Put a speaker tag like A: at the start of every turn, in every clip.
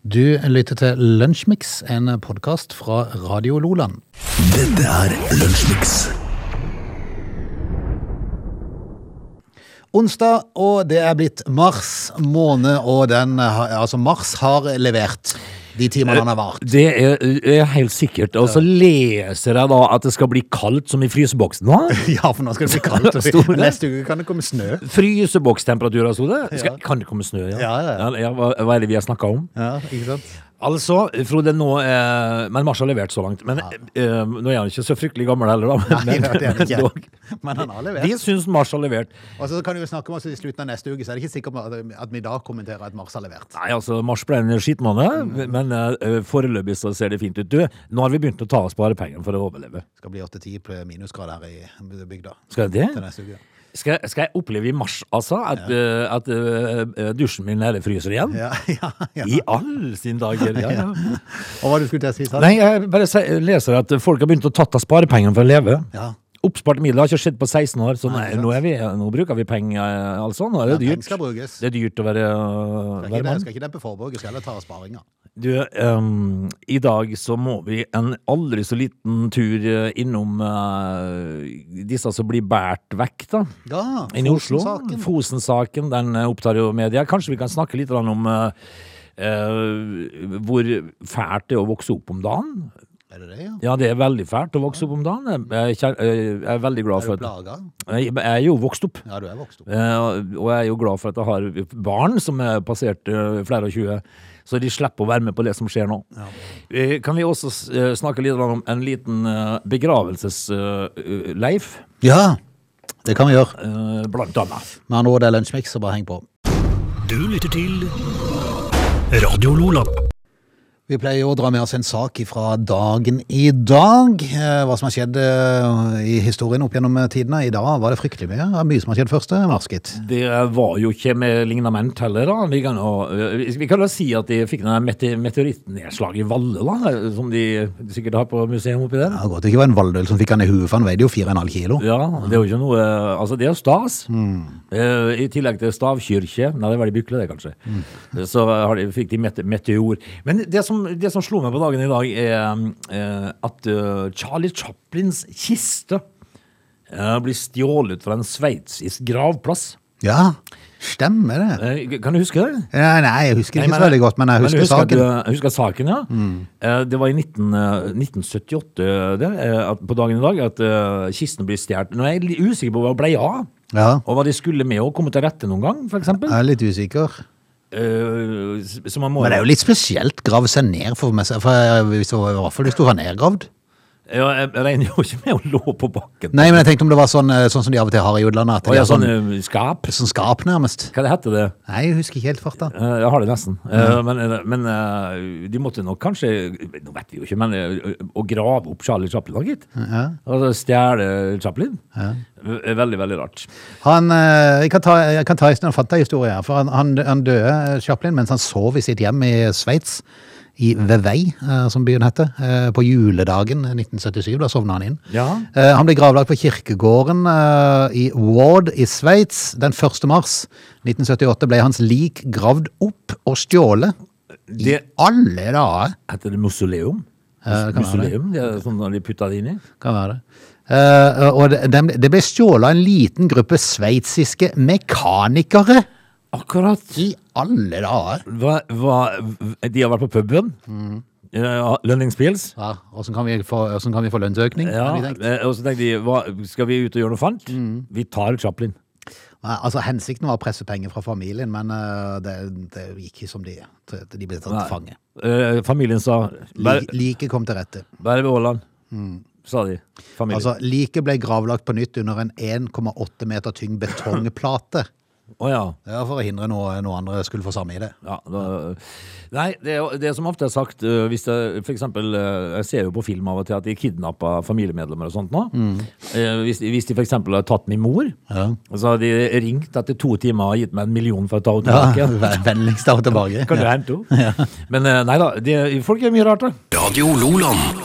A: Du lytter til Lunsjmix, en podkast fra Radio Loland.
B: Dette er Lunsjmix.
A: Onsdag, og det er blitt mars måned, og den har- Altså, mars har levert de timene han har vart.
C: Det er, er helt sikkert. Og så leser jeg da at det skal bli kaldt som i fryseboksen. Hva?
A: Ja, for nå skal det bli kaldt. og
C: Stor
A: fint.
C: det.
A: Neste uke kan det komme snø.
C: Frysebokstemperaturer, sto altså. det. Skal, Kan det komme snø? Ja,
A: Ja, ja, ja.
C: hva, hva er det vi har snakka om?
A: Ja, ikke sant?
C: Altså, Frode, nå eh, Men Mars har levert så langt. Men eh, nå er han ikke så fryktelig gammel heller, da.
A: Nei,
C: Men,
A: det er det
C: men dog.
A: ikke. Men han har levert.
C: Vi syns Mars har levert.
A: Og så kan vi jo snakke om oss i slutten av neste uke, så er det ikke sikkert at- at vi da kommenterer at Mars har levert.
C: Nei, altså, Mars ble en skittmåned, men eh, foreløpig så ser det fint ut. Du, nå har vi begynt å ta av sparepengene for å overleve.
A: Det skal bli 8-10 minusgrader her i bygda
C: Skal jeg det?
A: til neste uke.
C: Skal, jeg- skal jeg oppleve i mars, altså, at, eh, at eh, dusjen min nede fryser igjen?
A: Ja, ja, ja.
C: I all sin dager, ja. ja.
A: Og hva du skulle til å si, sa du?
C: Nei, jeg bare se- leser at folk har begynt å tatt av sparepengene for å leve.
A: Ja.
C: Oppsparte midler har ikke skjedd på 16 år, så nei,
A: ikke sant.
C: nå, er vi, nå bruker vi penger, altså. Nå er det
A: Ja,
C: dyrt.
A: penger skal brukes.
C: Det er dyrt å være, øh,
A: Skal
C: være
A: ikke, det-
C: mann.
A: skal ikke dempe forbruket, skal heller ta av sparinga.
C: Du, ehm, i dag så må vi en aldri så liten tur eh, innom eh, disse som blir båret vekk, da.
A: Ja,
C: Inne i Oslo.
A: Fosen-saken.
C: Fosen-saken, den eh, opptar jo media. Kanskje vi kan snakke litt grann om eh, eh, hvor fælt det er å vokse opp om dagen?
A: Er det det, ja?
C: Ja, det er veldig fælt å vokse opp om dagen. Jeg, kjen- eh, jeg er veldig
A: Er
C: glad
A: du
C: for at
A: plaga?
C: jeg, jeg er jo vokst opp.
A: Ja, du er vokst opp.
C: eh, Og jeg er jo glad for at jeg har barn som er passert eh, flere og tjue, så de slipper å være med på det som skjer nå. Eh, Kan vi også s- eh, snakke litt grann om en liten eh, begravelses-Leif,
A: Ja, det kan vi gjøre.
C: eh, blant annet?
A: Med andre ord, det er Lunsjmix, så bare heng på.
B: Du lytter til Radio Lola.
A: Vi pleier jo å dra med oss en sak fra dagen i dag. eh, Hva som har skjedd eh, i historien opp gjennom eh, tidene. I dag var det fryktelig mye. Det er mye som har skjedd først, eh, mars, gitt.
C: Det var jo ikke med lignament heller, da. Vi kan jo, eh, vi kan jo si at de fikk den der mete- meteorittnedslaget i Valle, da, eh, som de sikkert har på museet oppi der.
A: Det er godt det ikke var en valldøl som fikk han i huet, for han veide jo 4,5 kilo.
C: Ja, det er jo ikke noe Altså, det er jo stas. Eh, I tillegg til stavkirke Nei, det var de bykle, det, kanskje. Så har de, fikk de mete, meteor. Men det som, det som slo meg på dagen i dag, er eh, at eh, Charlie Chaplins kiste eh, blir stjålet fra en sveitsisk gravplass.
A: Ja, stemmer det.
C: Eh, Kan du huske det?
A: Ja, nei, jeg husker det ikke
C: Nei,
A: så
C: men-
A: veldig godt, men jeg
C: men
A: husker
C: at du-
A: saken. Mm.
C: Jeg husker saken, ja. Eh, Det var i 19, eh, 1978 det, eh, at, på dagen i dag at eh, kisten blir stjålet. Nå er jeg litt usikker på hva ble av,
A: Ja,
C: og hva de skulle med å komme til rette noen gang, f.eks.
A: jeg er litt usikker.
C: Uh, så man må
A: Men det er jo litt spesielt grave seg ned for meg, selv, for jeg, hvis det var, i hvert fall hvis du var nedgravd.
C: ja, Jeg regner jo ikke med å lå på bakken.
A: Nei, men jeg tenkte om det var sånn, eh, sånn som de av og til har i utlandet, at
C: Og
A: de har
C: jeg har sånn
A: sånn,
C: eh, skap.
A: sånn skap nærmest.
C: Hva det heter det?
A: Nei, jeg husker ikke helt farta.
C: Eh, Jeg har det nesten. Eh, Men, eh, men eh, de måtte nok kanskje Nå vet vi jo ikke, men eh, å grave opp Charlie Chaplin, da, gitt.
A: Ja.
C: Altså stjele Chaplin. V- Veldig, veldig rart.
A: Han, eh, jeg kan ta, jeg kan ta en sånn fantahistorie her, for han, han, han døde, eh, Chaplin, mens han sov i sitt hjem i Sveits, i Vevey, eh, som byen heter, eh, på juledagen 1977, da sovna han inn.
C: Ja.
A: Eh, Han ble gravlagt på kirkegården eh, i Ward i Sveits den 1. mars 1978. Ble hans lik gravd opp og stjålet. I
C: Det
A: alle dager!
C: heter det mausoleum.
A: Ja, det kan være det.
C: mausoleum, det er sånn når de putter det inn i.
A: Kan være det. Eh, og det, dem- det ble stjålet av en liten gruppe sveitsiske mekanikere.
C: Akkurat.
A: I alle dager!
C: Hva, hva, de har vært på puben.
A: Mm.
C: Ja, Lønningspils.
A: Ja, Åssen kan, vi få- hvordan kan vi få lønnsøkning?
C: Ja,
A: har de tenkt. Mm.
C: eh, og så tenkte de, hva, skal vi ut og gjøre noe fant? Vi tar Chaplin.
A: Nei, altså, hensikten var å presse penger fra familien, men eh, det, det gikk ikke som de De ble tatt til fange.
C: Eh, familien sa,
A: Li-
C: bare
A: Liket kom til rette.
C: bare ved Åland,
A: Mm.
C: sa de. Familien.
A: Altså, Liket ble gravlagt på nytt under en 1,8 meter tyng betongplate.
C: Å ja.
A: Det var for å hindre noe, noe andre skulle få samme i det.
C: Ja, da, nei, det, er- det er som ofte er sagt eh, hvis det, For eksempel, eh, jeg ser jo på film av og til at de kidnapper familiemedlemmer og sånt nå. Eh, Hvis, de- hvis de for eksempel har tatt min mor,
A: Mm. Ja.
C: så har de ringt etter to timer og gitt meg en million for å ta henne
A: Ja,
C: tilbake.
A: vær Vennligst av og tilbake.
C: Kan du hente henne? Men eh, nei da, det- folk gjør mye rart, da.
B: Radio Loland.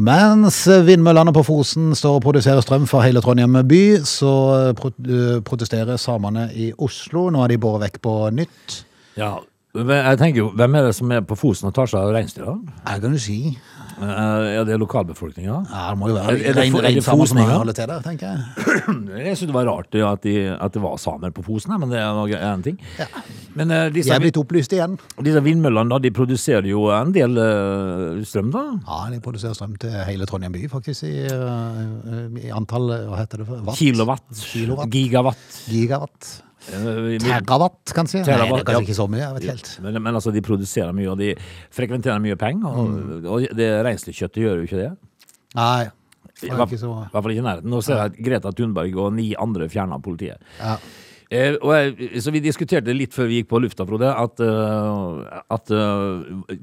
A: Mens vindmøllene på Fosen står og produserer strøm for hele Trondheim by, så eh, pro- eh, protesterer samene i Oslo. Nå har de båret vekk på nytt.
C: Ja, Men Jeg tenker jo, Hvem er det som er på Fosen og tar seg av reinsdyra?
A: Ja, det kan du si.
C: Eh, Er det lokalbefolkninga?
A: Ja, det må jo
C: Er-
A: være
C: er det
A: rein-
C: for- er det
A: reinsamer som
C: fosninger?
A: holder til der, tenker jeg.
C: Jeg synes det var rart ja, at, de, at det var samer på Fosen, ja, men det er noe- er en ting. Men eh, disse,
A: Jeg er blitt opplyst igjen.
C: disse vindmøllene da, de produserer jo en del eh, strøm, da.
A: Ja, de produserer strøm til hele Trondheim by, faktisk, i, øh, i antall øh, Hva heter det? for- Watt?
C: Kilowatt,
A: Kilowatt.
C: gigawatt.
A: Gigawatt.
C: Eh, vi-
A: Terawatt, kanskje? Nei, det
C: Terawatt,
A: er kanskje
C: ja.
A: ikke så mye. Jeg vet ikke helt.
C: Men, men altså, de produserer mye, og de frekventerer mye penger. Og,
A: Mm.
C: og det reinsdyrkjøttet gjør jo ikke det.
A: Nei.
C: I
A: Det er
C: hvert
A: ikke så...
C: i hvert fall ikke i nærheten. Nå ser jeg at Greta Thunberg og ni andre fjerna politiet.
A: Ja.
C: Eh, og jeg, så vi diskuterte litt før vi gikk på lufta, Frode, at, eh, at eh,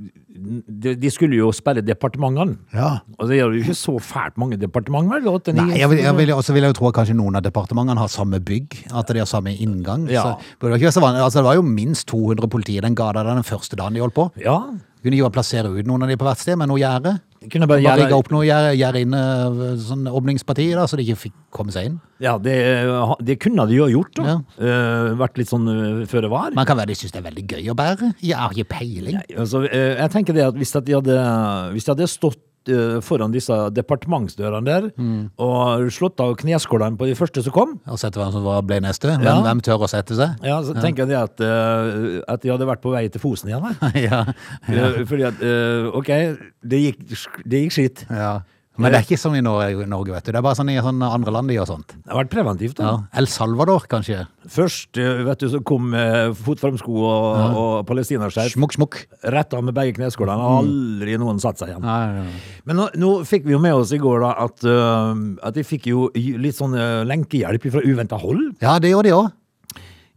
C: de, de skulle jo sperre departementene.
A: ja.
C: Og det gjør jo ikke så fælt mange departementer, vel? åtte, ni?
A: Nei, jeg vil, jeg vil, også vil jeg jo tro at kanskje noen av departementene har samme bygg, at de har samme inngang.
C: Ja.
A: Så, burde det, ikke være så vanlig. altså, det var jo minst 200 politi i den gata der den første dagen de holdt på.
C: Ja.
A: Kunne jo plassere ut noen av de på hvert sted med noe gjerde.
C: Kunne bare
A: Bare
C: gjøre-
A: rigge opp noe gjerde, gjerde inn, øh, sånn åpningsparti, da, så de ikke fikk komme seg inn.
C: ja det, eh, det kunne de jo ha gjort, da.
A: Ja.
C: Eh, vært litt sånn eh, føre var.
A: Man kan være de syns det er veldig gøy å bære. Jeg har ikke peiling.
C: Nei, altså, eh, jeg tenker det at hvis at de hadde, hvis de hadde stått eh, foran disse departementsdørene der,
A: Mm.
C: og slått av kneskålene på de første som kom,
A: Og sette hvem som var- ble neste. Hvem,
C: Ja.
A: hvem tør å sette seg?
C: ja, så tenker jeg det at, eh, at de hadde vært på vei til Fosen igjen. da.
A: ja.
C: Eh, Fordi at, eh, ok, det gikk, det gikk skitt.
A: ja. Men det er ikke som i Norge, Norge, vet du. Det er bare sånn i sånne andre land de gjør sånt.
C: Det har vært preventivt da.
A: Ja. El Salvador, kanskje.
C: Først, eh, vet du, så kom eh, fotformsko og, og palestinaskjerf,
A: Smukk, smukk.
C: rett av med begge kneskålene,
A: Mm.
C: og aldri noen satt seg igjen.
A: Nei, nei, nei.
C: Men nå, nå fikk vi jo med oss i går da at, øh, at de fikk jo litt sånn øh, lenkehjelp fra uventa hold.
A: Ja, det gjorde de òg.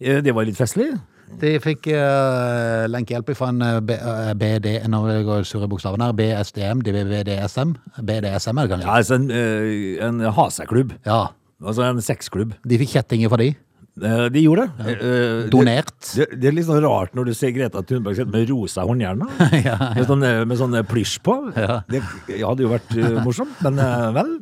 C: Eh, Det var litt festlig.
A: De fikk eh, lenkehjelp fra en eh, B- eh, BD... Nå går jeg sur i bokstaven her. BSDM, de- BDSM. BDSM er det kanskje?
C: Ja, altså en, øh, en haseklubb.
A: Ja.
C: Altså en sexklubb.
A: De fikk kjettinger fra de.
C: Eh, De gjorde det. Eh, eh, det.
A: Donert.
C: Det, det er litt sånn rart når du ser Greta Thunberg sitte med rosa håndjern. da. Med sånn, eh, med sånn eh, plysj på. Det hadde jo vært eh, morsomt, men eh, vel.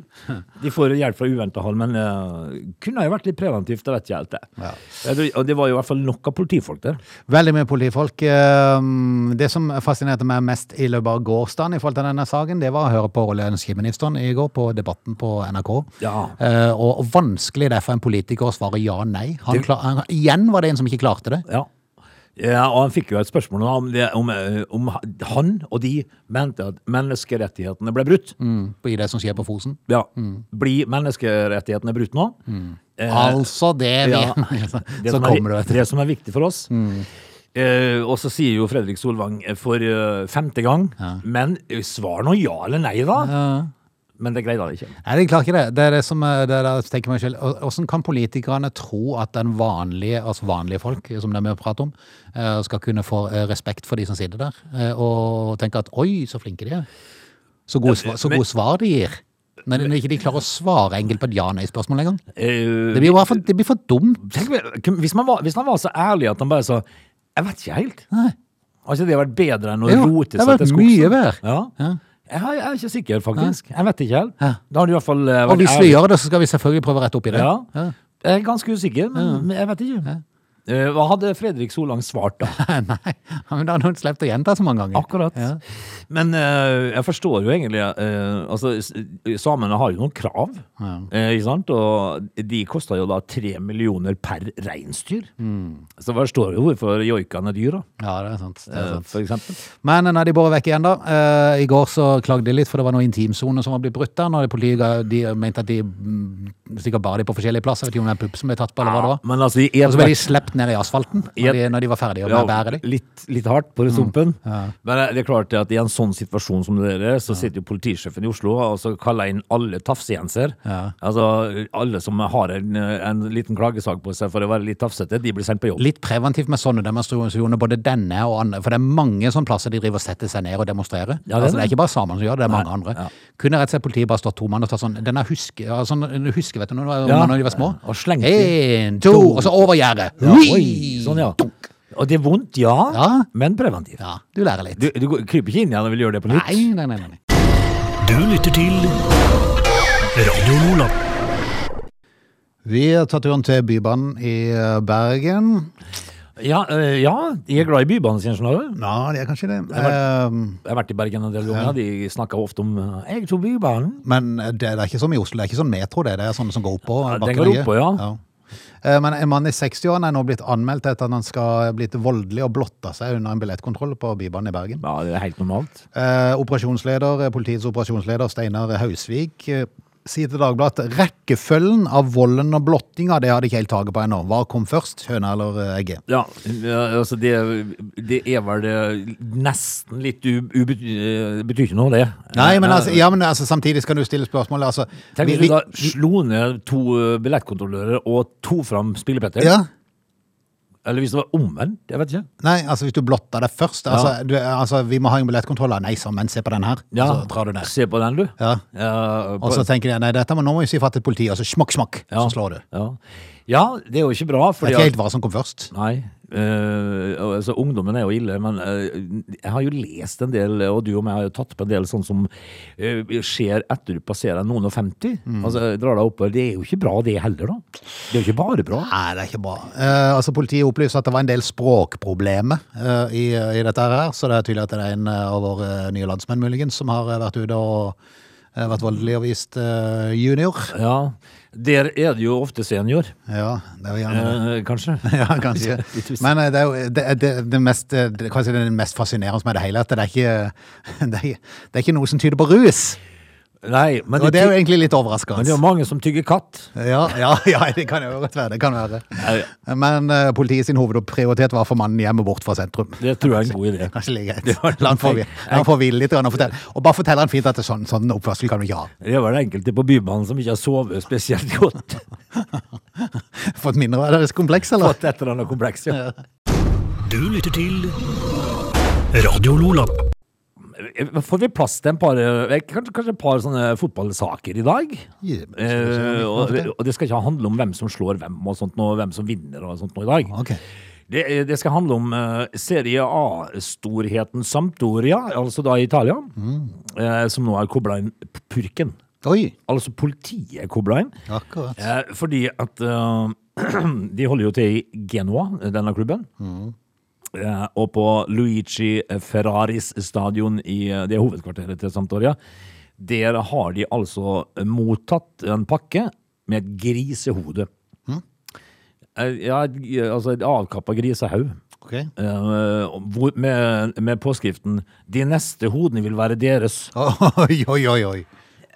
C: De får hjelp fra uventa hold, men eh, kunne jo vært litt preventivt, det vet jeg helt. det.
A: Ja.
C: Eh, det- Og det var jo i hvert fall nok av politifolk der.
A: Veldig mye politifolk. Ehm, Det som fascinerte meg mest i løpet av gårsdagen, i forhold til denne saken, det var å høre på olje- og energiministeren i går på Debatten på NRK.
C: Ja.
A: Eh, Og og vanskelig det er for en politiker å svare ja nei. Han
C: Det-
A: kla- han, igjen var det en som ikke klarte det.
C: Ja. ja, og han fikk jo et spørsmål om, det, om, eh, om han og de mente at menneskerettighetene ble brutt.
A: Mm, I det som skjer på Fosen.
C: Ja,
A: Mm.
C: Blir menneskerettighetene brutt nå? Eh,
A: Altså det vi
C: ja. det,
A: altså. Så
C: som er,
A: kommer du Mm.
C: vi-
A: etter.
C: det som er viktig for oss. Eh, og så sier jo Fredrik Solvang eh, for eh, femte gang, men eh, svar nå ja eller nei, da. Men det greide han ikke.
A: Nei, de klarer ikke det. Det er det som eh, det er det jeg tenker meg selv. Og- Hvordan kan politikerne tro at den vanlige, altså vanlige folk, som det er med å prate om, eh, skal kunne få eh, respekt for de som sitter der, eh, og tenke at oi, så flinke de er. Så gode, sva- så
C: men-
A: gode svar de gir. Når når ikke de klarer å svare enkelt på et ja-nei-spørsmål engang.
C: Eh,
A: Det blir jo bare for, det blir for dumt.
C: Tenk, hvis, man var, hvis man var så ærlig at han bare sa Jeg vet ikke helt.
A: Nei.
C: Har ikke det vært bedre enn å
A: Jo,
C: rote
A: det
C: seg
A: har
C: til
A: vært
C: skogs?
A: mye bedre.
C: Ja.
A: Ja.
C: Jeg, har- jeg er ikke sikker, faktisk. Jeg vet ikke helt.
A: Ja.
C: Da har du i hvert fall eh,
A: Og
C: vært
A: hvis vi gjør det, så skal vi selvfølgelig prøve å rette opp i det.
C: Ja.
A: Ja.
C: Jeg er ganske usikker, men men jeg vet ikke. Eh, Hva hadde Fredrik Solang svart da?
A: Nei, men da har noen sluppet å gjenta så mange ganger.
C: Akkurat.
A: Ja.
C: Men eh, jeg forstår jo egentlig eh, Altså, s- samene har jo noen krav, eh, ikke sant? Og de koster jo da tre millioner per reinsdyr. Så jeg forstår jo hvorfor joikaen er dyr, da.
A: Ja, det er sant. Mm. Det er
C: eh,
A: sant.
C: For eksempel.
A: Men nei, de båret vekk igjen da. Eh, I går så klagde de litt, for det var noen intimsoner som var blitt brutt der, når de politiet ga- de mente at de mm, sikkert bare de på forskjellige plasser, vet ikke om det er pupp som ble tatt på, eller hva det var.
C: Men altså, i
A: Og så ble
C: ethvert-
A: de slept ned i asfalten når
C: Ja.
A: de, når de Mm. var ferdige med å bære dem.
C: Litt, litt hardt på sumpen. Men eh, det er klart at i en sånn situasjon som det der, så sitter jo politisjefen i Oslo og så kaller inn alle tafsejenser. Altså alle som har en, en liten klagesak på seg for å være litt tafsete, de blir sendt på jobb.
A: Litt preventivt med sånne demonstrasjoner, både denne og andre, for det er mange sånne plasser de driver og setter seg ned og demonstrerer.
C: Ja, det er
A: altså, det er
C: det.
A: ikke bare samene som gjør det, det er mange andre.
C: ja.
A: Kunne rett og slett politiet bare stått to mann og tatt sånn, denne huske, ja, sånn, du husker, vet du, når,
C: Ja.
A: når de var små?
C: Og slengt
A: En, to, og så over gjerdet.
C: Ja, oi,
A: Hui!
C: sånn, ja. Og det er vondt, ja,
A: Ja.
C: men preventivt.
A: Ja, du lærer litt.
C: Du, du går- kryper ikke inn igjen og vil gjøre det på nytt?
A: Nei, nei, nei, nei. nei.
B: Du lytter til Radio Lola.
A: Vi tar turen til Bybanen i eh, Bergen.
C: Ja, eh, ja, de er glad i bybanen sin, skjønner du.
A: Ja, det er kanskje det. Eh,
C: Jeg har vært i Bergen en del ganger, de snakker ofte om eh, 'jeg tok Bybanen'.
A: men det, det er ikke som i Oslo, det er ikke sånn metro, det. Det er sånne som går oppå.
C: Ja, den
A: bakken
C: går
A: ligger.
C: oppå, ja.
A: Eh, Men en mann i 60-årene er nå blitt anmeldt etter at han skal ha blitt voldelig og blotta seg under en billettkontroll på Bybanen i Bergen.
C: Ja, det er helt normalt.
A: Eh, operasjonsleder, eh, politiets operasjonsleder Steinar Hausvik eh, sier til Dagbladet at rekkefølgen av volden og blottinga det har de ikke helt taket på ennå. Hva kom først, høna eller eh, egget?
C: Ja, eh, altså det, det er vel eh, nesten litt ubetydelig Betyr ikke noe, det.
A: Nei, men,
C: Eh,
A: altså, ja, men altså, samtidig skal du stille spørsmålet. Altså,
C: Tenk
A: vi-
C: hvis
A: vi-
C: du da slo ned to eh, billettkontrollører og to fram spillepetter.
A: ja?
C: Eller hvis det var omvendt, jeg vet ikke.
A: Nei, altså hvis du blotter det først altså, du, altså, Vi må ha en billettkontroll. Nei, sammen, se på den her.
C: Ja,
A: Så drar du ned.
C: Altså, Se på den, du.
A: Ja. Altså-
C: Ja, på-
A: Og så tenker jeg nei, dette må, nå må vi si fra til politiet, og så smakk, smakk,
C: ja,
A: så slår du.
C: Ja. ja, det er jo ikke bra.
A: Det er
C: Fordi
A: ikke
C: at,
A: helt hva som kom først.
C: nei, eh, altså, ungdommen er jo ille, men eh, jeg har jo lest en del, og du og meg har jo tatt på en del sånn som eh, skjer etter du passerer noen og 50.
A: Mm.
C: Altså, drar deg oppover. Det er jo ikke bra, det heller, da. Det er jo ikke bare bra.
A: Nei, det er ikke bra. Eh, altså, Politiet opplyser at det var en del språkproblemer eh, i, i dette her, så det er tydelig at det er en eh, av våre nye landsmenn muligens som har eh, vært ute og eh, vært voldelig og vist eh, junior.
C: Ja, Der er det jo ofte senior,
A: Ja, det er jo gjerne det.
C: eh, kanskje.
A: Ja, kanskje. Men eh, det er jo det, er- det, det mest, eh, det, kanskje det er det mest fascinerende med det hele, at det er ikke, det er, det er ikke noe som tyder på rus.
C: Nei, men
A: Og
C: det,
A: det er jo
C: ty-
A: egentlig litt
C: men det er
A: overraskende.
C: jo mange som tygger katt.
A: Ja, ja, ja, det kan jo godt være. det kan være.
C: Nei,
A: Men eh, politiet sin hovedprioritet var for mannen hjemme bort fra sentrum.
C: Det tror jeg er en god idé.
A: Kanskje like greit.
C: Det var-
A: La han få hvile- la han få hvile litt grann og fortelle. Og bare fortell han fint at det er sånn, sånn oppførsel kan du ikke ha.
C: Det var det enkelte på Bybanen som ikke har sovet spesielt godt.
A: Fått mindre av deres kompleks, eller?
C: Fått et eller annet kompleks, ja.
B: Du lytter til Radio Lola.
C: Får vi plass til en par, eh, kanskje, kanskje et par sånne fotballsaker i dag?
A: Ja, men-
C: Eh, og, og det skal ikke handle om hvem som slår hvem, og sånt nå, hvem som vinner og sånt nå i dag.
A: Ok.
C: Det, eh, det skal handle om eh, Serie A-storheten Sampdoria, altså da i Italia, eh, som nå er kobla inn p- purken.
A: Oi,
C: Altså politiet er kobla inn.
A: akkurat.
C: Eh, fordi at eh, de holder jo til i Genoa, denne klubben. Eh, og på Luigi Ferraris stadion i eh, det er hovedkvarteret til Santoria, der har de altså mottatt en pakke med et grisehode. Eh, ja, et, altså et avkappa grisehaug.
A: Ok.
C: Eh, hvor, med, med påskriften 'De neste hodene vil være deres'.
A: Oi, oi, oi. oi.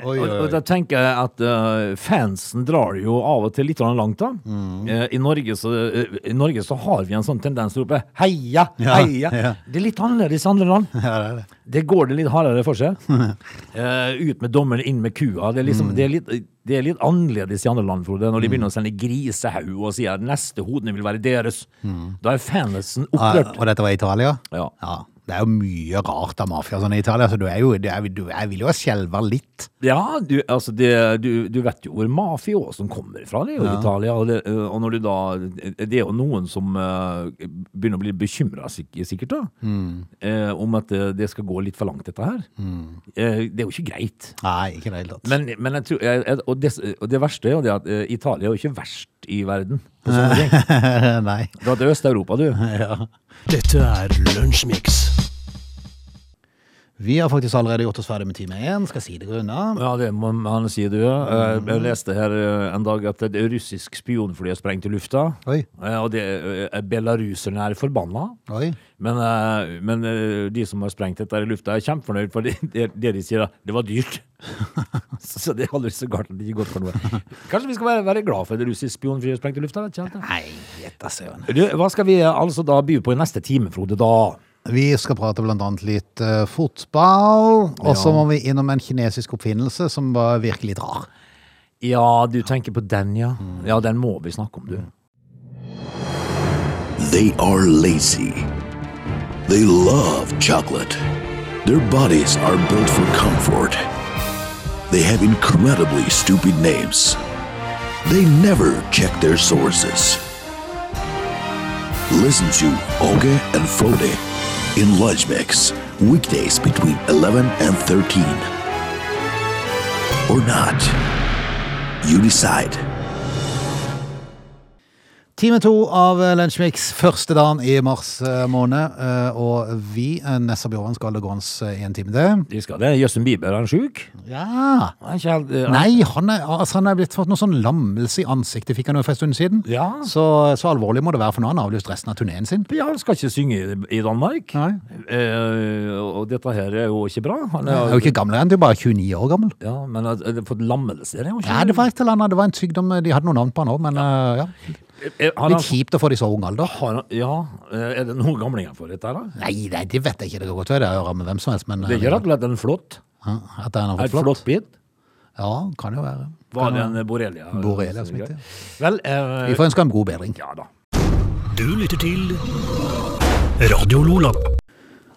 A: Oi,
C: Og, og
A: oi,
C: da
A: oi.
C: tenker jeg at eh, fansen drar jo av og til litt grann langt, da.
A: Mm.
C: Eh, I, Norge så, eh, I Norge så har vi en sånn tendens til å rope 'heia,
A: Ja,
C: heia'.
A: ja.
C: Det er litt annerledes i andre land.
A: Ja, det er det.
C: Det går det litt hardere for seg. Eh, ut med dommeren, inn med kua. Det er, liksom,
A: Mm.
C: det, er litt, det er litt annerledes i andre land, Frode, når de begynner å sende grisehaug og sier 'neste hodene vil være deres'.
A: Mm.
C: Da er fansen
A: Ah,
C: opprørt.
A: og dette var i Italia?
C: Ja.
A: Det er jo mye rart av mafia sånn i Italia, så du er jo, du er, du, jeg vil jo skjelve litt.
C: Ja, du, altså det, du, du vet jo hvor mafiosen kommer fra, det er jo Italia. Og, det, øh, og når du da Det er jo noen som eh, begynner å bli bekymra, sikkert, da. eh, om at det, det skal gå litt for langt, dette her. Eh, det er jo ikke greit.
A: Nei, ikke i det hele tatt.
C: Men, men jeg tror, jeg, jeg- og, det, og det verste er jo det at eh, Italia er jo ikke verst i verden på sånne ting.
A: Nei.
C: Dra til Øst-Europa, du.
B: Dette er Lunsjmix.
A: Vi har faktisk allerede gjort oss ferdig med time én, skal si det unna.
C: Ja, det må man si, du. Eh, Jeg leste her eh, en dag at et russisk spionfly er sprengt i lufta.
A: Oi.
C: Eh, Og det, eh, belaruserne er forbanna.
A: Oi.
C: Men, eh, men eh, de som har sprengt dette her i lufta, er kjempefornøyd, for det, det, det de sier, da, det var dyrt. så det holder så galt at det ikke går for noe. Kanskje vi skal være, være glad for at russisk spionfly er sprengt i lufta? Vet ikke helt, jeg.
A: Nei, gjetta søren.
C: du, hva skal vi eh, altså da by på i neste time, Frode? da?
A: Vi skal prate blant annet litt eh, fotball, og så må vi innom en kinesisk oppfinnelse som var virkelig litt rar.
C: Ja, du tenker på den, ja.
A: Mm.
C: Ja, den må vi snakke om, du.
D: They are lazy. They love chocolate. Their bodies are built for comfort. They have incredibly stupid names. They never check their sources. Listen to Oge and Frode in Lunch Mix, weekdays between 11 and 13. Or not. You decide.
A: Time to av eh, Lunsjmix, første dagen i mars eh, måned. eh, Og vi, eh, Nessa Bjørvann, skal holde gående eh, i en time til.
C: De skal det. Justin Bieber, er han sjuk?
A: Ja.
C: Han er ikke helt eh,
A: Nei, han er, altså han er blitt fått noe sånn lammelse i ansiktet, fikk han jo for en stund siden.
C: Ja.
A: Så, så alvorlig må det være, for nå har han avlyst resten av turneen sin.
C: Ja, han skal ikke synge i- i Danmark.
A: Nei.
C: Eh, og dette her er jo ikke bra. Han
A: Han er jo
C: er,
A: ikke gammel, han er jo bare 29 år gammel.
C: ja, men har har fått lammelse, er det jo ikke?
A: Ja, det var et eller annet, det var en sykdom, eh, de hadde noen navn på han òg, men eh, ja.
C: Eh, har han-
A: Litt kjipt å få det i så ung alder.
C: har han- Ja, eh, er det noen gamlinger for dette her, da?
A: Nei, nei, det vet jeg ikke, det går godt være det hører med hvem som helst, men
C: Det er
A: eh,
C: ikke rett og slett en flott.
A: ja, At han
C: Er
A: har fått
C: et
A: flott.
C: flott bit.
A: Ja, kan jo være.
C: Var det en borrelia?
A: Borrelia smitte, ja.
C: Vel, eh,
A: Vi får ønske ham god bedring.
C: ja da.
B: Du lytter til Radio Lola.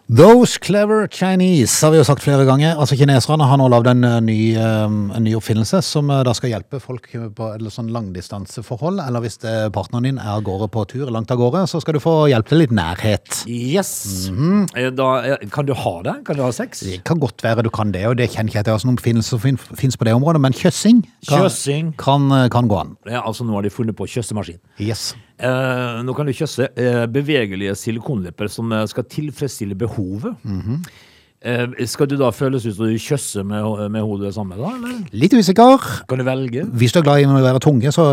A: Those clever Chinese, har vi jo sagt flere ganger. Altså Kineserne har nå lagd en, eh, ny, eh, en ny oppfinnelse som eh, da skal hjelpe folk på et sånn langdistanseforhold. Eller hvis eh, partneren din er av gårde på tur langt av gårde, så skal du få hjelp til litt nærhet.
C: Yes. Eh, da, eh, kan du ha det? Kan du ha sex?
A: Det kan godt være du kan det, og det kjenner ikke jeg til. Altså, noen oppfinnelser som fin- finnes på det området, men kjøssing kan,
C: Kjøssing.
A: Kan, eh, kan gå an.
C: Ja, altså, nå har de funnet på kjøssemaskin.
A: Yes.
C: Eh, nå kan du kjøsse eh, bevegelige silikonlepper som eh, skal tilfredsstille behovet. eh, skal du da føles ut som du kjøsser med, ho- med hodet sammen, da? Eller?
A: Litt usikker.
C: Kan du velge?
A: Hvis du er glad i å være tunge, så,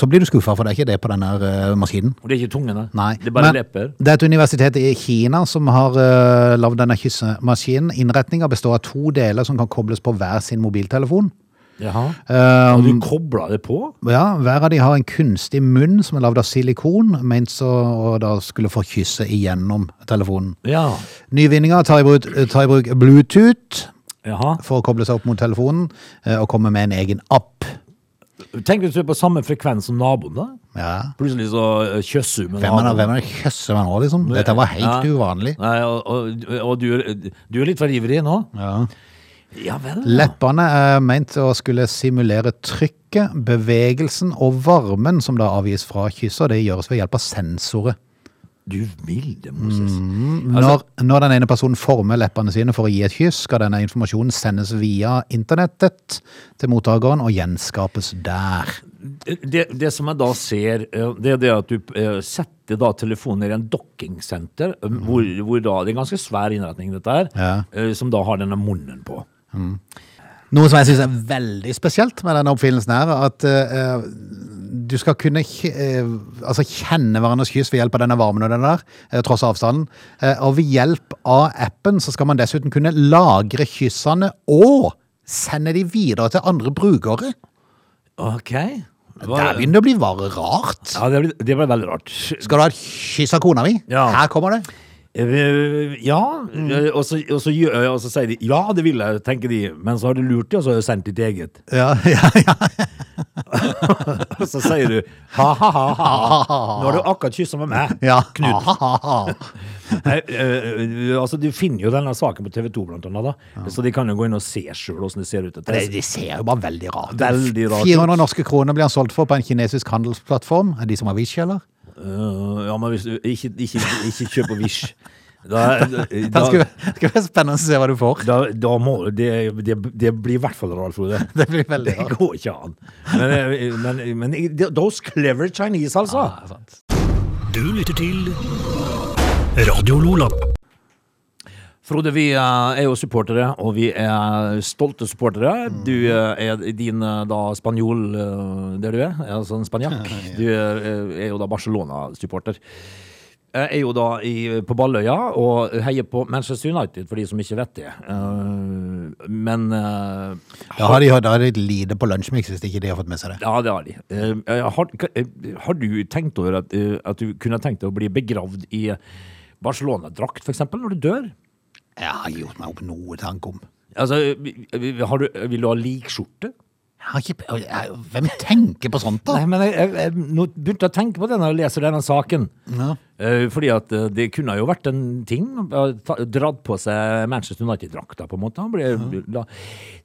A: så blir du skuffa, for det er ikke det på denne eh, maskinen.
C: Og det er ikke tunge, nei.
A: Nei,
C: Det er bare
A: men
C: lepper.
A: Det er et universitet i Kina som har uh, lagd denne kyssemaskinen. Innretninga består av to deler som kan kobles på hver sin mobiltelefon.
C: Jaha.
A: Eh,
C: Og du kobler det på?
A: ja, hver av de har en kunstig munn som er lagd av silikon, ment så og da skulle få kysse igjennom telefonen.
C: Ja.
A: Nyvinninga tar, i bruk- tar i bruk Bluetooth
C: Jaha.
A: for å koble seg opp mot telefonen, eh, og komme med en egen app.
C: Tenk hvis du er på samme frekvens som naboen, da.
A: Ja.
C: Plutselig så eh, kjøsser du med
A: Hvem er det, hvem er det kjøsser man nå, liksom? Dette var helt uvanlig.
C: Nei, og og, og du, er- du er litt for ivrig nå?
A: Ja.
C: Ja vel. ja.
A: Leppene er ment å skulle simulere trykket, bevegelsen og varmen som da avgis fra kysset, og det gjøres ved hjelp av sensorer.
C: Du milde Moses.
A: Når, når den ene personen former leppene sine for å gi et kyss, skal denne informasjonen sendes via internettet til mottakeren og gjenskapes der.
C: Det, det som jeg da ser, eh, det er det at du eh, setter da telefonen i en dockingsenter, eh, hvor, hvor da, det er en ganske svær innretning dette her,
A: Mm. Ja.
C: eh, som da har denne munnen på.
A: Noe som jeg synes er veldig spesielt med denne oppfinnelsen her, er at eh, du skal kunne kj- eh, altså kjenne hverandres kyss ved hjelp av denne varmen og den der, eh, tross avstanden. Eh, og ved hjelp av appen så skal man dessuten kunne lagre kyssene og sende de videre til andre brukere.
C: Ok.
A: Der begynner det å bli bare rart.
C: Ja, det ble, det ble veldig rart.
A: Skal du ha et kyss av kona mi?
C: Ja.
A: Her kommer det.
C: Eh, Ja,
A: mm.
C: eh, og så, og, så, gjør- og så sier de, ja, det vil jeg, tenker de, men så har du lurt det, og så har du sendt ditt eget.
A: Ja, ja, ja.
C: Og så sier du ha, ha, ha, ha. Nå har du akkurat kyssa med meg.
A: ja.
C: Knut.
A: Ha, ha, ha.
C: Nei, eh, altså, du finner jo denne saken på TV2, blant annet. Da. Så de kan jo gå inn og se sjøl åssen det ser ut.
A: Det, de ser jo bare veldig rart ut.
C: Altså- Veldig rart ut.
A: 400 norske kroner blir han solgt for på en kinesisk handelsplattform. Er de som har Wish, eller?
C: Eh, ja, men hvis du ikke, ikke, ikke kjøp på Wish. Da, da,
A: Det skal,
C: da,
A: det skal være spennende å se hva du får.
C: da, må det, det, det blir i hvert fall rart, Frode.
A: Det blir veldig
C: Det
A: rart.
C: går ikke an. Men, eh, men, men those clever Chinese, altså.
A: Ja, sant.
B: Du lytter til Radio Lola.
C: Frode, vi eh, er jo supportere, og vi er stolte supportere. Du eh, er din eh, da spanjol, eh, der du er, altså en spanjakk. Du eh, er jo da Barcelona-supporter. Jeg er jo da i, på Balløya og heier på Manchester United, for de som ikke vet det. Eh, Men eh,
A: Da har de, da har de et lite på lunsjmix hvis ikke de har fått med seg det.
C: ja, det har de. Eh, Har, eh, har du tenkt over at, eh, at du kunne tenkt deg å bli begravd i Barcelona-drakt, f.eks., når du dør?
A: Jeg har gjort meg opp noe tanke om.
C: Altså, vi- vi- har du, vil du ha likskjorte?
A: Jeg har ikke, jeg, hvem tenker på sånt, da?
C: Nei, men jeg, jeg, jeg nå begynte jeg å tenke på det når jeg leser denne saken.
A: Ja.
C: Eh, fordi at eh, det kunne jo vært en ting. eh, ta- Dratt på seg Manchester United-drakta, på en måte. Han Ble, la,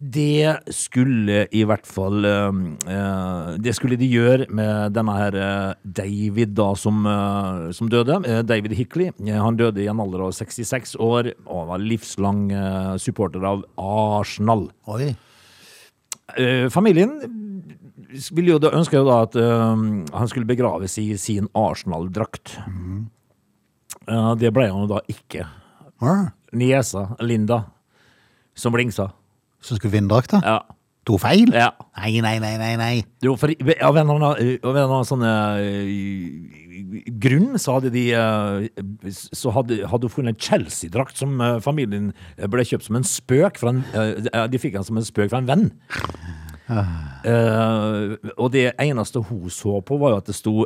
C: det skulle i hvert fall eh, eh, Det skulle de gjøre med denne her eh, David da som, eh, som døde. Eh, David Hickley. Eh, han døde i en alder av 66 år og var livslang eh, supporter av Arsenal.
A: Oi.
C: Eh, eh, familien ville jo da, ønsker jo da at eh, han skulle begraves i sin Arsenal-drakt. Eh, det ble han jo da ikke.
A: Ah,
C: Niesa, Linda, som blingsa.
A: Så skulle vi vinne drakta?
C: Ja.
A: To feil?
C: Ja.
A: Nei, nei, nei, nei. nei.
C: Jo, for av en eller annen, av en eller annen sånn eh, grunn så hadde de eh, Så hadde, hadde hun funnet en Chelsea-drakt som eh, familien ble kjøpt som en spøk fra en, eh, De fikk den som en spøk fra en venn. Eh, og det eneste hun så på, var jo at det sto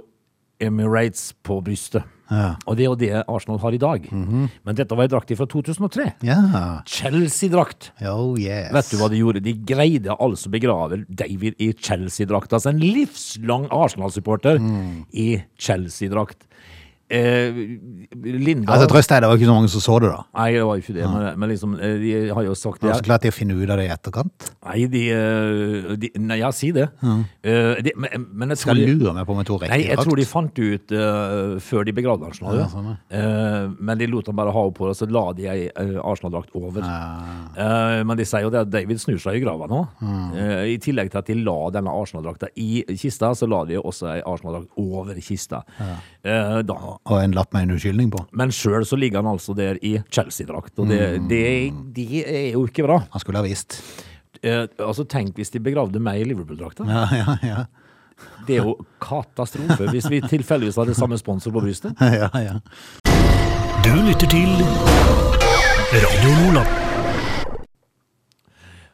C: Emirates på brystet.
A: Ja.
C: Og det er jo det Arsenal har i dag. Men dette var en drakt fra 2003.
A: Ja.
C: Chelsea-drakt.
A: Oh yes.
C: Vet du hva de gjorde? De greide altså å begrave David i Chelsea-drakt. Altså en livslang Arsenal-supporter
A: Mm.
C: i Chelsea-drakt. Eh, Linda
A: Altså, Trøst deg, det var ikke så mange som så det, da.
C: Nei, det var jo ikke det, men, men liksom, eh, de har jo sagt
A: Det
C: det.
A: var så klart de å finne ut av det i etterkant.
C: Nei, de, eh, de Nei, ja, si det. Eh, de, men, men jeg tror
A: Skal
C: de-
A: lure meg på om jeg tok
C: Nei,
A: riktig
C: jeg tror de
A: drakt.
C: fant det ut eh, før de begravde Arsenal.
A: Ja,
C: ja.
A: sånn,
C: Eh, men de lot ham bare ha henne på det, så la de ei eh, Arsenal-drakt over. Eh, men de sier jo det at David snur seg i grava nå.
A: Mm.
C: Eh, I tillegg til at de la denne Arsenal-drakta i kista, så la de jo også ei Arsenal-drakt over kista. Eh, da.
A: Og en lapp med en unnskyldning på.
C: Men sjøl så ligger han altså der i Chelsea-drakt, og det,
A: Mm.
C: det, det er jo ikke bra.
A: Han skulle ha visst.
C: Eh, altså Tenk hvis de begravde meg i Liverpool-drakta.
A: Ja, ja, ja.
C: Det er jo katastrofe hvis vi tilfeldigvis hadde samme sponsor på brystet.
A: ja, ja.
B: Du lytter til Radio Lola.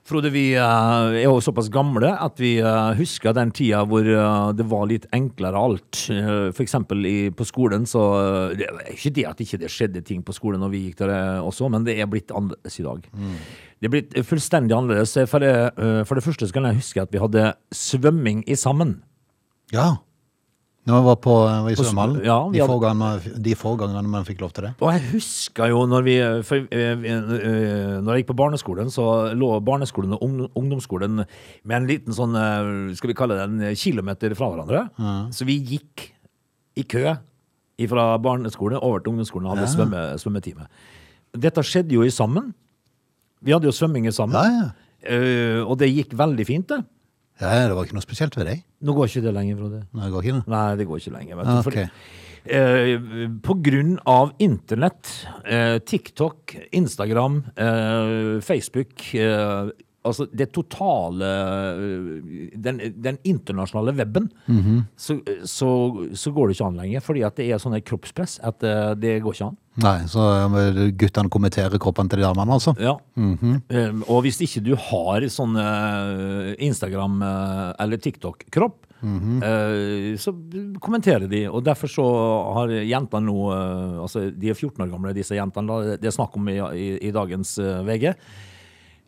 C: Frode, vi eh, er jo såpass gamle at vi eh, husker den tida hvor eh, det var litt enklere alt. Eh, For eksempel i, på skolen, så eh, Det er ikke det at ikke det skjedde ting på skolen når vi gikk der eh, også, men det er blitt annerledes i dag. Det er blitt fullstendig annerledes. For det, eh, for det første så kan jeg huske at vi hadde svømming i sammen.
A: ja. Når vi var på eh, var i
C: s-
A: svømmehallen,
C: ja, vi
A: de,
C: hadde-
A: få gangene- de få gangene man fikk lov til det.
C: Og jeg husker jo når vi for, eh, vi- eh, Når jeg gikk på barneskolen, så lå barneskolen og ung- ungdomsskolen med en liten sånn eh, Skal vi kalle det en kilometer fra hverandre. Så vi gikk i kø fra barneskolen over til ungdomsskolen og hadde svømme, svømmetime. Dette skjedde jo i sammen. Vi hadde jo svømminger sammen.
A: Ja, ja.
C: Eh, og det gikk veldig fint, det.
A: Ja, ja, det var ikke noe spesielt ved deg.
C: Nå går ikke det lenger, Frode.
A: Nei, det går ikke det.
C: Nei, det går ikke lenger. Vet du.
A: Ah,
C: Fordi,
A: ok.
C: eh, på grunn av internett, eh, TikTok, Instagram, eh, Facebook eh, Altså det totale eh, Den, den internasjonale weben. så, eh, så, så går det ikke an lenger, fordi at det er sånne kroppspress at eh, det går ikke an.
A: Nei, så eh, guttene kommenterer kroppen til de damene, altså.
C: Ja. Eh, og hvis ikke du har sånn eh, Instagram- eh, eller TikTok-kropp, eh, så kommenterer de. Og derfor så har jentene nå eh, Altså, de er 14 år gamle, disse jentene. da, Det er snakk om i, i, i dagens eh, VG.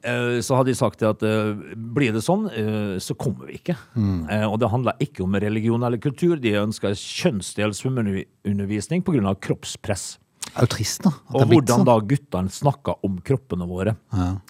C: Eh, Så har de sagt at eh, blir det sånn, eh, så kommer vi ikke. Eh, Og det handler ikke om religion eller kultur. De ønsker kjønnsdelt svømmeundervisning pga. kroppspress.
A: Det er jo trist, da. at det
C: Og
A: er blitt
C: hvordan
A: sånn.
C: da guttene snakker om kroppene våre. Ja.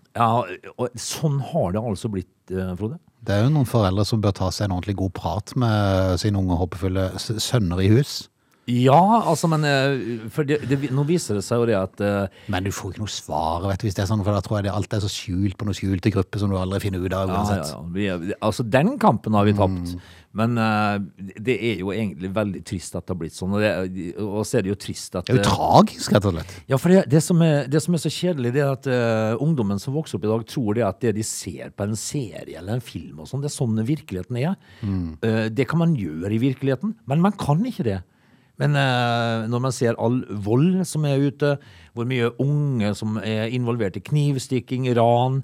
C: og sånn har det altså blitt, eh, Frode.
A: Det er jo noen foreldre som bør ta seg en ordentlig god prat med sine unge håpefulle s- sønner i hus.
C: Ja, altså, men eh, for det, det, Nå viser det seg jo det at eh,
A: Men du får ikke noe svar, vet du, hvis det er sånn, for da tror jeg det alt er så skjult på noen skjulte grupper som du aldri finner ut av
C: ja, ja,
A: uansett.
C: ja, vi, er- Altså, den kampen har vi tapt. Men eh, det er jo egentlig veldig trist at det har blitt sånn. Og, det, og så er det jo trist at
A: Det er jo
C: eh,
A: tragisk, rett og slett.
C: Ja, for det, det, som er, det som er så kjedelig, det er at eh, ungdommen som vokser opp i dag, tror det at det de ser på en serie eller en film og sånn, det er sånn virkeligheten er. Eh, det kan man gjøre i virkeligheten, men man kan ikke det. Men eh, når man ser all vold som er ute, hvor mye unge som er involvert i knivstikking, ran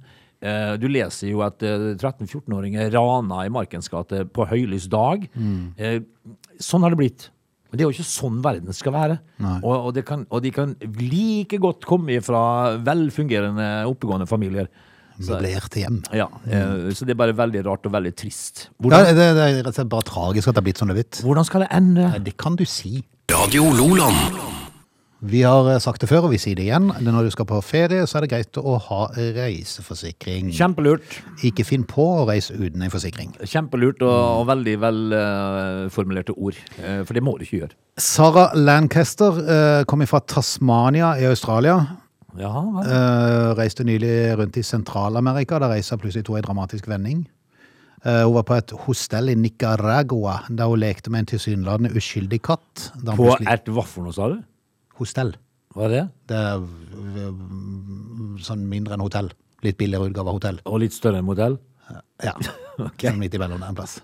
C: eh, Du leser jo at eh, 13-14-åringer rana i Markens gate på høylys dag. Eh, sånn har det blitt. Men det er jo ikke sånn verden skal være. Og, og, det kan, og de kan like godt komme fra velfungerende, oppegående familier. Så,
A: Møblerte hjem.
C: ja, eh, så det er bare veldig rart og veldig trist.
A: Ja,
C: Hvordan,
A: det, det er rett og slett bare tragisk at det er blitt sånn det er blitt.
C: hvordan skal det ende?
A: Nei, Det kan du si.
B: Radio Loland.
A: Vi har eh, sagt det før, og vi sier det igjen. Når du skal på ferie, så er det greit å ha reiseforsikring.
C: Kjempelurt.
A: Ikke finn på å reise uten en forsikring.
C: Kjempelurt og, og veldig velformulerte ord. Eh, For det må du ikke gjøre.
A: Sarah Lancaster eh, kom fra Tasmania i Australia.
C: Ja,
A: Eh, reiste nylig rundt i Sentral-Amerika. Da reisa plutselig to i dramatisk vending. Eh, Hun var på et hostell i Nicaragua da hun lekte med en tilsynelatende uskyldig katt. Da hun
C: På
A: plutselig-
C: et hva for noe, sa du?
A: hostell.
C: Hva er det?
A: Det er mm, sånn mindre enn hotell. Litt billigere utgave av hotell.
C: Og litt større enn modell?
A: Ja. Sånn midt imellom der en plass.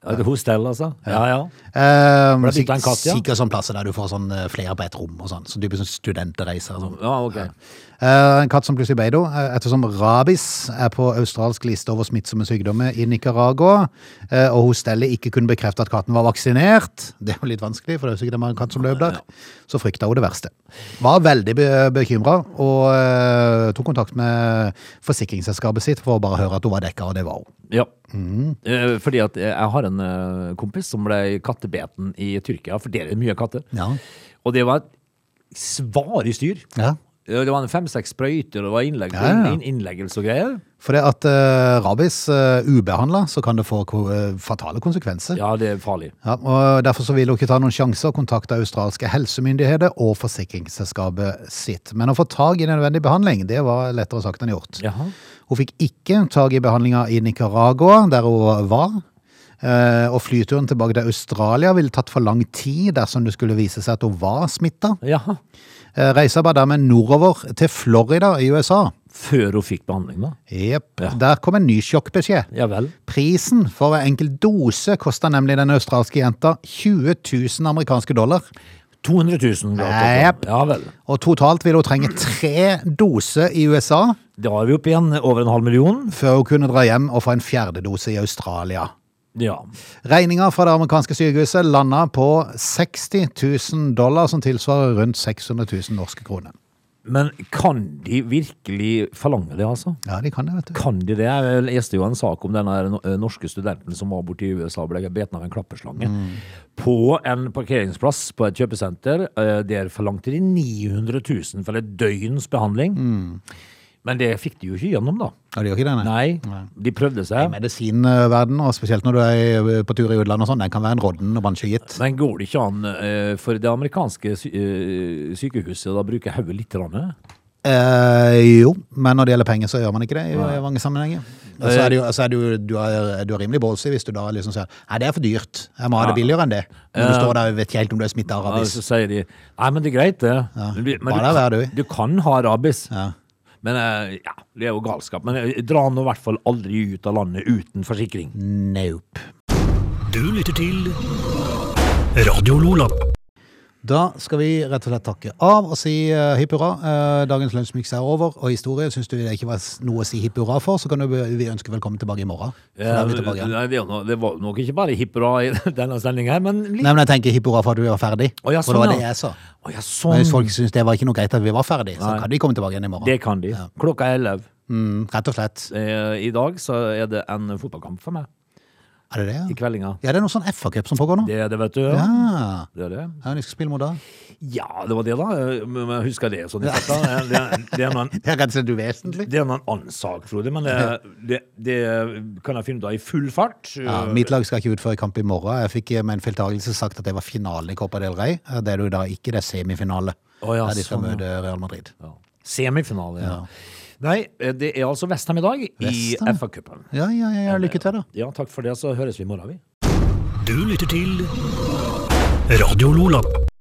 C: Ja, det er Hostell, altså? Ja, ja.
A: Um,
C: det sitter en katt, ja?
A: Sikkert sånn plasser der du får sånn eh, flere på ett rom og sånn. Så typisk sånn studentreiser og sånn.
C: ja ok.
A: Eh, en katt som plutselig ble det, eh, ettersom rabis er på australsk liste over smittsomme sykdommer i Nicaragua, eh, og hostellet ikke kunne bekrefte at katten var vaksinert, det er jo litt vanskelig, for det er jo sikkert en katt som løp der, så frykta hun det verste. Var veldig be bekymra, og eh, tok kontakt med forsikringsselskapet sitt for å bare høre at hun var dekka, og det var hun.
C: Ja.
A: Mm.
C: Eh, Fordi at eh, jeg har en eh, kompis som ble kattebeten i Tyrkia, for det er mye katter.
A: Ja.
C: Og det var et svare styr.
A: Ja.
C: Eh, Det var en fem-seks sprøyter, og det var innlegg,
A: Ja, ja.
C: inn- innleggelse og greier.
A: For det at eh, rabis uh, ubehandla, så kan det få ko eh, fatale konsekvenser.
C: Ja, det er farlig.
A: Ja, og Derfor så ville hun ikke ta noen sjanser og kontakte australske helsemyndigheter og forsikringsselskapet sitt. Men å få tak i nødvendig behandling det var lettere sagt enn gjort.
C: Jaha.
A: Hun fikk ikke tak i behandlinga i Nicaragua, der hun var. Eh, Og flyturen tilbake til Australia ville tatt for lang tid dersom det skulle vise seg at hun var smitta.
C: Jaha.
A: Reisa bare dermed nordover til Florida i USA.
C: Før hun fikk behandling, da?
A: Jepp.
C: Ja.
A: Der kom en ny sjokkbeskjed.
C: Ja vel.
A: Prisen for hver enkelt dose kosta nemlig den australske jenta 20 000 amerikanske dollar.
C: 200 000. da,
A: Jep.
C: Ja vel.
A: Og totalt ville hun trenge tre doser i USA
C: Da er vi oppe igjen over en halv million.
A: før hun kunne dra hjem og få en fjerde dose i Australia.
C: Ja.
A: Regninga fra det amerikanske sykehuset landa på 60 000 dollar, som tilsvarer rundt 600 000 norske kroner.
C: Men kan de virkelig forlange det, altså?
A: Ja, de kan det, vet du.
C: Kan de det? Jeg leste jo en sak om den her no- eh, norske studenten som var borte i USA og ble beten av en klapperslange. På en parkeringsplass på et kjøpesenter. eh, Der forlangte de 900 000 for et døgns behandling. Men det fikk de jo ikke gjennom, da.
A: Ja, de gjør ikke det, nei.
C: Mm. Nei, de prøvde
A: I
C: seg.
A: medisinverdenen, og spesielt når du er eh, på tur i utlandet og sånn, den kan være en rodden og bransje gitt.
C: Men går det ikke an eh, for det amerikanske sy eh, sykehuset da bruker hodet litt? Rann,
A: Eh, jo, men når det gjelder penger, så gjør man ikke det i, i mange sammenhenger. Og så er det jo, så er det jo du, er, du er rimelig ballsy hvis du da liksom sier Nei, det er for dyrt. Jeg må ha det billigere enn det. Når du står der og vet ikke helt om du er smitta av
C: Ja,
A: rabies.
C: så sier de Nei, men det er greit, det. Men du- men
A: Bare vær
C: du,
A: du.
C: du kan ha rabies.
A: Ja.
C: Men eh, ja, det er jo galskap. Men eh, dra nå i hvert fall aldri ut av landet uten forsikring.
A: Nope.
B: Du lytter til Radio Lola.
A: Da skal vi rett og slett takke av og si eh, hipp hurra. Eh, dagens lunsjmiks er over, og historie syns du det ikke var s- noe å si hipp hurra for, så kan du, be- vi ønske velkommen tilbake i morgen. For da er vi tilbake. igjen.
C: Nei, det, er jo no- det var nok ikke bare hipp hurra i denne sendingen her, men litt
A: Nei, men jeg tenker hipp hurra for at vi var ferdig.
C: Å,
A: for
C: ja,
A: det
C: sånn,
A: var
C: ja.
A: det jeg sa.
C: Å ja,
A: Men hvis
C: sånn.
A: folk syns det var ikke noe greit at vi var ferdig, så
C: Nei.
A: kan de komme tilbake igjen i morgen.
C: Det kan de. Klokka er 11.
A: Mm, rett og slett.
C: Eh, I dag så er det en fotballkamp for meg.
A: Er det det? ja?
C: I kveldinga.
A: Ja, det er noe sånn FA-cup som pågår nå. Ah,
C: Det er det, vet du.
A: Ja.
C: Det er det.
A: ja, de skal spille mot da.
C: Ja, det var det, da. Eh, Men jeg husker det sånn i farta. Det, er- det er noen
A: Det er rett og slett uvesentlig.
C: Det er en annen sak, Frode, men det, det, det kan jeg finne ut av i full fart.
A: Ja, mitt lag skal ikke ut før kamp i morgen. Jeg fikk eh, med en feiltagelse sagt at det var finale i Copa del Rey. Eh, Det er det jo da ikke, det er semifinale.
C: Å, ja,
A: der de skal
C: sånn, ja.
A: møte Real Madrid.
C: Ja. Semifinale, ja. Nei, det er altså Vestheim i dag
A: Vestheim?
C: i FA-cupen.
A: Ja, ja, ja, ja, lykke til da.
C: Ja, takk for det, så høres vi i morgen, vi.
B: Du lytter til Radio Lola.